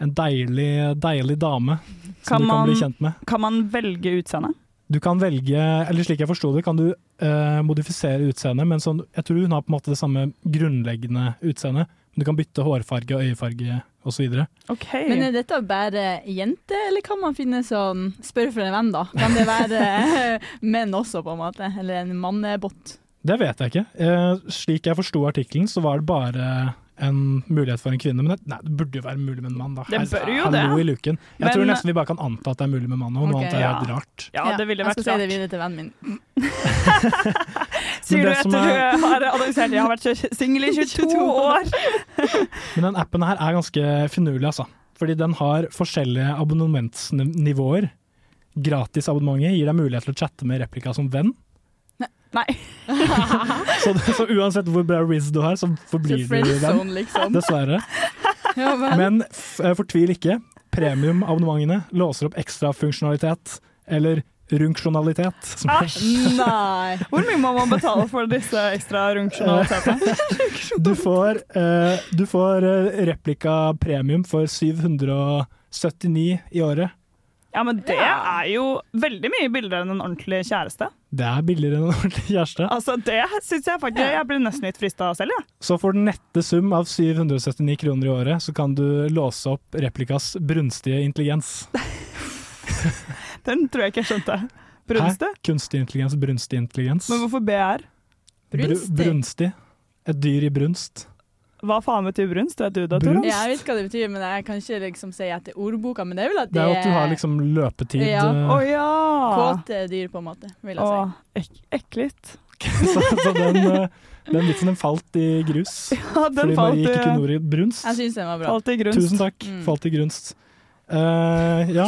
Speaker 2: En deilig, deilig dame som du kan bli kjent med.
Speaker 3: Kan man velge utseende?
Speaker 2: Du kan velge, eller slik jeg forsto det, kan du eh, modifisere utseendet, men sånn, jeg tror hun har på en måte det samme grunnleggende utseendet. Men du kan bytte hårfarge og øyefarge osv.
Speaker 4: Mm. Men
Speaker 3: eh,
Speaker 4: er dette bare jenter, eller kan man finne sånn Spør for en venn, da. Kan det være menn også, på en måte? Eller en mannebot?
Speaker 2: Det vet jeg ikke. Eh, slik jeg forsto artikkelen, så var det bare en mulighet for en kvinne. Men det, nei, det burde jo være mulig med en mann, da.
Speaker 3: Det bør jo
Speaker 2: Hallo
Speaker 3: det.
Speaker 2: i luken. Jeg
Speaker 3: Men-
Speaker 2: tror nesten vi bare kan anta at det er mulig med mann, og noe
Speaker 4: Ok.
Speaker 2: annet er helt rart.
Speaker 3: Ja, det ville vært
Speaker 4: Jeg skal si det videre til vennen min.
Speaker 3: Sier du
Speaker 2: det
Speaker 3: etter
Speaker 2: som er-
Speaker 3: du har annonsert jeg har vært singel i 22 år?
Speaker 2: Men den appen her er ganske finurlig, altså. Fordi den har forskjellige abonnementsnivåer. Gratisabonnementet gir deg mulighet til å chatte med replika som venn.
Speaker 3: Nei.
Speaker 2: Så, så uansett hvor bra Riz du har, så forblir du
Speaker 4: Så
Speaker 2: venn.
Speaker 4: friendzone, liksom.
Speaker 2: Dessverre.
Speaker 4: Ja,
Speaker 2: Men f eh, fortvil ikke. Premiumabonnementene låser opp ekstra funksjonalitet, eller runksjonalitet. som-
Speaker 3: Æsj!
Speaker 4: Ah, Nei.
Speaker 3: Hvor mye må man betale for disse ekstra runksjonalitetene?
Speaker 2: Du får, eh, du får eh, replika premium for 779 i året.
Speaker 3: Ja, men det er jo veldig mye billigere enn en ordentlig kjæreste.
Speaker 2: Det er billigere enn en ordentlig kjæreste.
Speaker 3: Altså, Det syns jeg faktisk Jeg blir nesten litt frista selv, jeg.
Speaker 2: Så for den nette sum av 779 kroner i året, så kan du låse opp replikas brunstige intelligens.
Speaker 3: Den tror jeg ikke jeg skjønte. Brunste?
Speaker 2: Hæ? Kunstig intelligens, brunstig intelligens.
Speaker 3: Men hvorfor BR?
Speaker 2: Bru- brunstig. Et dyr i brunst.
Speaker 3: Hva faen betyr brunst? Vet du det, Tora?
Speaker 4: Ja, jeg vet hva det betyr, men jeg kan ikke liksom si etter ordboka. Men det er vel at
Speaker 2: Det
Speaker 4: det
Speaker 2: er jo at du har liksom løpetid.
Speaker 4: Ja.
Speaker 2: eh,
Speaker 3: Å ja!
Speaker 4: kåte dyr, på en måte, vil jeg
Speaker 3: Å,
Speaker 4: si.
Speaker 3: ek ekkelt.
Speaker 2: så, så den, eh, den vitsen den falt i grus.
Speaker 3: Ja, den
Speaker 2: fordi Marie
Speaker 3: falt
Speaker 2: ikke
Speaker 3: i- Altså,
Speaker 2: kunne ordet brunst.
Speaker 4: Jeg syns den var bra.
Speaker 3: Falt i grunst.
Speaker 2: Tusen takk.
Speaker 4: Mm.
Speaker 2: Falt i grunst. Eh, ja.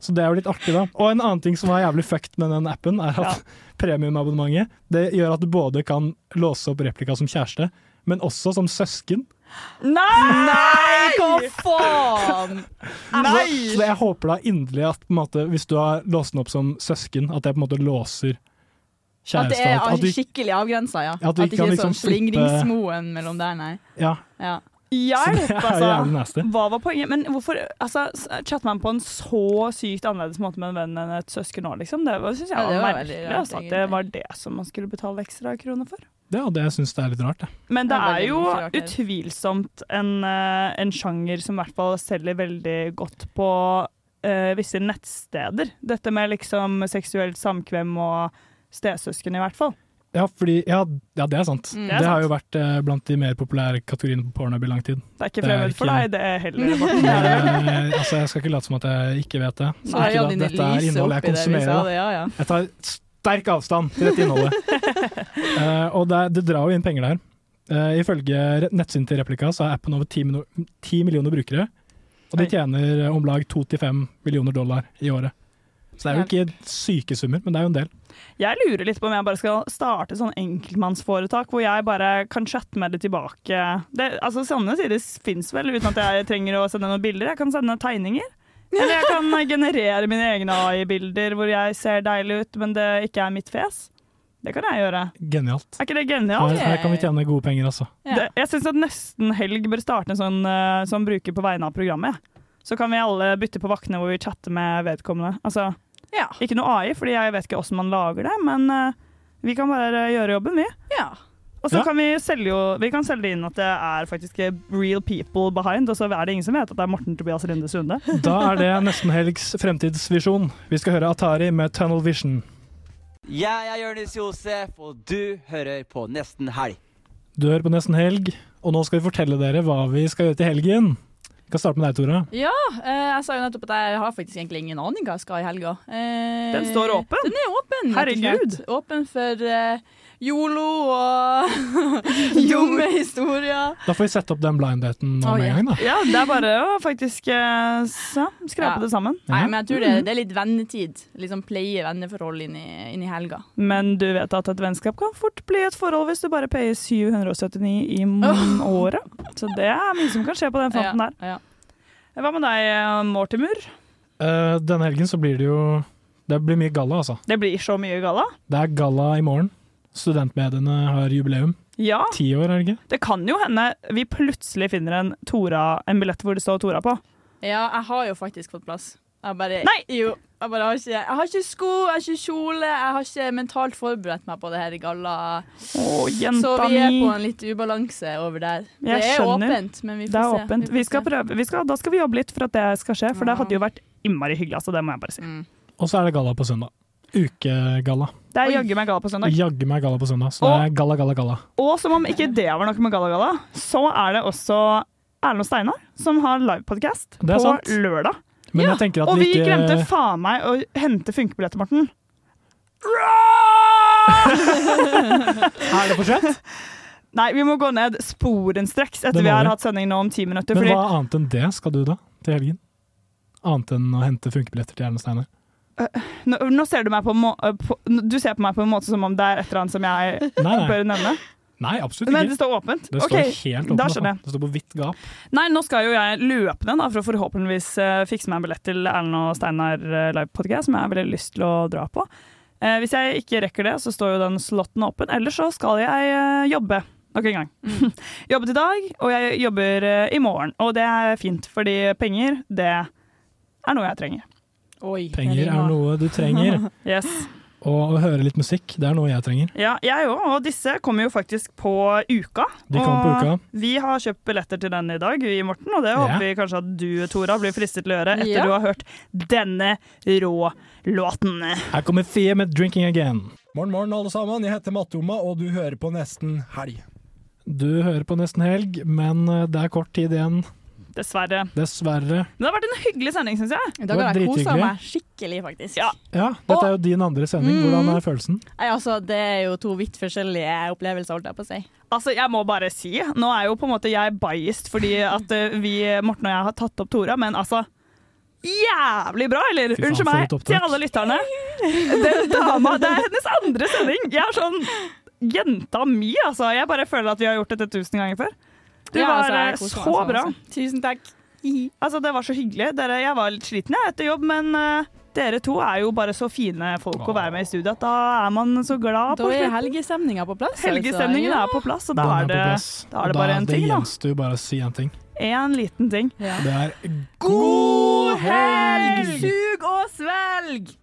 Speaker 2: Så det er jo litt artig, da. Og en annen ting som er jævlig fucked med den appen, er at premiumabonnementet det gjør at du både kan låse opp replika som kjæreste, men også som søsken.
Speaker 3: Nei!
Speaker 4: hva faen!
Speaker 2: Så, så jeg håper da inderlig at på en måte, hvis du har låst den opp som søsken, at det på en måte låser
Speaker 4: At det
Speaker 2: kjæreste.
Speaker 4: er
Speaker 2: du-
Speaker 4: skikkelig avgrensa, ja.
Speaker 2: At
Speaker 4: At
Speaker 2: du
Speaker 4: det
Speaker 2: ikke
Speaker 4: ikke
Speaker 2: kan
Speaker 4: er
Speaker 2: liksom
Speaker 4: sånn
Speaker 2: flippe-
Speaker 4: slingringsmoen mellom der, nei.
Speaker 2: ja.
Speaker 4: Ja.
Speaker 3: Hjelp,
Speaker 2: Så det er jo jævlig nasty.
Speaker 3: altså! Hva var poenget? Men hvorfor altså, s- chatter man på en så sykt annerledes måte med en venn enn et søsken nå, liksom? Det var- synes jeg
Speaker 4: Ja, det
Speaker 3: var
Speaker 4: var
Speaker 3: merkelig.
Speaker 4: veldig rart,
Speaker 3: altså, at det var det som man skulle betale ekstra kroner for.
Speaker 2: Ja, det syns jeg er litt rart, jeg.
Speaker 3: Men det
Speaker 4: Det er
Speaker 3: er
Speaker 4: veldig
Speaker 3: jo
Speaker 4: mye rart her.
Speaker 3: utvilsomt en, eh, en sjanger som i hvert fall selger veldig godt på eh, visse nettsteder. Dette med liksom seksuelt samkvem og stesøsken, i hvert fall.
Speaker 2: Ja, fordi, ja, ja, det er sant.
Speaker 3: Mm.
Speaker 2: Det, har jo vært eh, blant de mer populære kategoriene på pornhub i lang tid.
Speaker 3: Det er ikke fremmed for deg, det er heller. Morten.
Speaker 2: Nei, altså, jeg skal ikke late som at jeg ikke vet det. Så
Speaker 3: Nei,
Speaker 2: ikke
Speaker 3: ja,
Speaker 2: at
Speaker 3: dine
Speaker 2: dette er
Speaker 3: lyser
Speaker 2: innhold jeg
Speaker 3: opp i det vi
Speaker 2: konsumerer.
Speaker 3: sa
Speaker 2: da.
Speaker 3: det, ja, ja.
Speaker 2: Jeg tar sterk avstand til dette innholdet. Eh, og det, er- det drar jo inn penger der. Uh, ifølge re- nettsiden til Replika så er appen over 10, mino- 10 millioner brukere. Og de tjener eh, om lag 2-5 millioner dollar i året. Så det er jo ikke syke summer, men det er jo en del.
Speaker 3: Jeg lurer litt på om jeg bare skal starte sånn enkeltmannsforetak hvor jeg bare kan chatte med det tilbake. Det, altså Sanne sier det fins vel, uten at jeg trenger å sende noen bilder. Jeg kan sende tegninger. Eller jeg kan generere mine egne AI-bilder hvor jeg ser deilig ut, men det ikke er mitt fjes. Det kan jeg gjøre.
Speaker 2: Genialt.
Speaker 3: Er ikke det
Speaker 2: Her,
Speaker 3: genialt?
Speaker 2: her kan vi tjene gode penger, altså.
Speaker 3: Det, jeg syns at Nesten Helg bør starte en sånn eh, som bruker på vegne av programmet. jeg. Så kan vi alle bytte på vaktene hvor vi chatter med vedkommende. Altså, Ikke noe AI, fordi jeg vet ikke hvordan man lager det, men eh, vi kan bare gjøre jobben, vi. Og
Speaker 2: Ja.
Speaker 3: så kan vi selge jo Vi kan selge det inn at det er faktisk real people behind, og så er det ingen som vet at det er Morten Tobias Linde Sunde.
Speaker 2: Da er det nesten helgs fremtidsvisjon. Vi skal høre Atari med Tunnel Vision.
Speaker 11: Jeg er Jonis Josef, og du hører på Nesten Helg.
Speaker 2: Du hører på Nesten Helg, og nå skal vi fortelle dere hva vi skal gjøre til helgen. Vi kan starte med deg, Tora.
Speaker 4: Ja, eh, jeg sa jo nettopp at jeg har faktisk egentlig ingen aning hva jeg skal i helga. Eh,
Speaker 3: Den står åpen.
Speaker 4: Den er åpen, rett og
Speaker 3: Herregud.
Speaker 4: slett. Åpen for eh, Yolo og dumme historier.
Speaker 2: Da får vi sette opp den blind daten nå
Speaker 4: Å,
Speaker 2: med
Speaker 4: ja.
Speaker 2: en gang, da.
Speaker 3: Oh, Ja, det er bare å faktisk eh, så, skrape
Speaker 4: Ja.
Speaker 3: det sammen.
Speaker 4: Nei, men jeg tror
Speaker 3: Mm.
Speaker 4: det, det er litt vennetid. Liksom pleie venneforhold inn i, inn i helga.
Speaker 3: Men du vet at et vennskap kan fort bli et forhold hvis du bare payer 779 i m- året. Så det er mye som kan skje på den fronten der. Hva med deg, Mortimer?
Speaker 2: Eh, denne helgen så blir det jo Det blir mye galla, altså.
Speaker 3: Det blir så mye galla.
Speaker 2: Det er galla i morgen. Studentmediene har jubileum.
Speaker 3: Ja.
Speaker 2: Ti år, er det ikke?
Speaker 3: Det kan jo hende vi plutselig finner en, Tora, en billett hvor det står Tora på.
Speaker 4: Ja, jeg har jo faktisk fått plass. Jeg bare,
Speaker 3: Nei!
Speaker 4: Jo, jeg, bare har ikke, jeg har ikke sko, jeg har ikke kjole, jeg har ikke mentalt forberedt meg på det her galla.
Speaker 3: jenta
Speaker 4: Så vi er
Speaker 3: mi.
Speaker 4: på en litt ubalanse over der. Det
Speaker 3: Jeg
Speaker 4: er
Speaker 3: skjønner.
Speaker 4: åpent, men vi får
Speaker 3: det er
Speaker 4: se.
Speaker 3: åpent.
Speaker 4: Vi får
Speaker 3: Vi skal prøve. Vi skal, da skal vi jobbe litt for at det skal skje, for det hadde jo vært innmari hyggelig. Altså, det må jeg bare si.
Speaker 4: Mm.
Speaker 2: Og så er det galla på søndag. Ukegalla.
Speaker 3: Det er jaggu meg galla på søndag.
Speaker 2: Jaggu meg galla på søndag. Så det er galla, galla, galla.
Speaker 3: Og som om ikke det var noe med galla galla, så er det også Erlend og Steinar som har livepodkast
Speaker 2: Det er
Speaker 3: på
Speaker 2: sant.
Speaker 3: lørdag.
Speaker 2: Men jeg tenker at
Speaker 3: Og vi
Speaker 2: ikke-
Speaker 3: glemte faen meg å hente funkebilletter, Morten.
Speaker 2: Er det for sent?
Speaker 3: Nei, vi må gå ned sporenstreks
Speaker 2: Det
Speaker 3: etter
Speaker 2: må
Speaker 3: vi har
Speaker 2: vi.
Speaker 3: hatt sending nå om ti minutter.
Speaker 2: Men
Speaker 3: Fordi
Speaker 2: hva annet enn det skal du da, til helgen? Annet enn å hente funkebilletter til Erlend Steinar?
Speaker 3: nå, nå ser du meg på, en må øh, på Du ser på meg på en måte som om det er et eller annet som jeg
Speaker 2: Nei, nei.
Speaker 3: bør nevne.
Speaker 2: Nei, absolutt
Speaker 3: Nei,
Speaker 2: ikke.
Speaker 3: det står åpent.
Speaker 2: Det står
Speaker 3: Ok,
Speaker 2: helt åpent.
Speaker 3: Da
Speaker 2: altså.
Speaker 3: skjønner jeg.
Speaker 2: Det står på hvitt gap.
Speaker 3: Nei, nå skal jo jeg løpende da, for å forhåpentligvis eh, fikse meg en billett til Erlend og Steinar eh, live podcast, som jeg har veldig lyst til å dra på. Eh, hvis jeg ikke rekker det, så står jo den slotten åpen. Ellers så skal jeg eh, jobbe. Nok en gang. Jobbet i dag, og jeg jobber eh, i morgen. Og det er fint, fordi penger, det er noe jeg trenger.
Speaker 2: Penger er noe du trenger.
Speaker 3: yes.
Speaker 2: Og å høre litt musikk, det er noe jeg trenger.
Speaker 3: Ja, jeg òg, og disse kommer jo faktisk på uka.
Speaker 2: De kommer på
Speaker 3: og
Speaker 2: uka.
Speaker 3: Vi har kjøpt billetter til den i dag, vi, Morten, og det
Speaker 2: Ja.
Speaker 3: håper vi kanskje at du, Tora, blir fristet til å gjøre etter
Speaker 2: Ja.
Speaker 3: du har hørt denne rå låten.
Speaker 2: Her kommer Fie med 'Drinking Again'.
Speaker 12: Morgen, morgen, alle sammen. Jeg heter Mattoma, og du hører på Nesten Helg.
Speaker 2: Du hører på Nesten Helg, men eh, det er kort tid igjen,
Speaker 3: Dessverre.
Speaker 2: dessverre.
Speaker 3: Men det har vært en hyggelig sending, syns jeg.
Speaker 4: I
Speaker 2: dag Det var har jeg koset drithyggelig. meg
Speaker 4: skikkelig, faktisk.
Speaker 2: Ja, dette er jo din andre
Speaker 3: Mm.
Speaker 2: sending. Hvordan er følelsen?
Speaker 4: Nei, altså, det er jo to vidt forskjellige opplevelser, holdt jeg på å si.
Speaker 3: Altså, jeg må bare si, nå er jo på en måte jeg biased fordi at eh, vi, Morten og jeg, har tatt opp Tora, men altså Jævlig bra, eller?
Speaker 2: Fy faen,
Speaker 3: Unnskyld
Speaker 2: for
Speaker 3: meg
Speaker 2: et opptak.
Speaker 3: til alle lytterne. Den dama, Det
Speaker 4: altså,
Speaker 3: er hennes andre sending! Jeg er sånn jenta mi, altså. Jeg bare føler at vi har gjort dette tusen ganger før. Du
Speaker 4: Ja, altså,
Speaker 3: var
Speaker 4: jeg
Speaker 3: eh,
Speaker 4: koser meg
Speaker 3: så
Speaker 4: sånn,
Speaker 3: bra.
Speaker 4: altså. Tusen takk.
Speaker 3: Altså, det var så hyggelig. Dere, jeg var litt sliten jeg, etter jobb, men eh, dere to er jo bare så fine folk å være med i studio at da er man så glad
Speaker 4: Da
Speaker 3: på
Speaker 4: er
Speaker 3: slutten.
Speaker 4: helgestemninga på plass.
Speaker 3: Helgestemningen
Speaker 4: altså.
Speaker 3: er på plass, og da
Speaker 2: Den
Speaker 3: er,
Speaker 2: på
Speaker 3: det,
Speaker 2: plass.
Speaker 3: da er
Speaker 2: Og
Speaker 3: det bare en ting,
Speaker 2: Det
Speaker 3: da.
Speaker 2: gjenstår jo bare å si én ting.
Speaker 3: En liten ting.
Speaker 2: Det er
Speaker 3: God
Speaker 2: helg!
Speaker 4: Sug og svelg!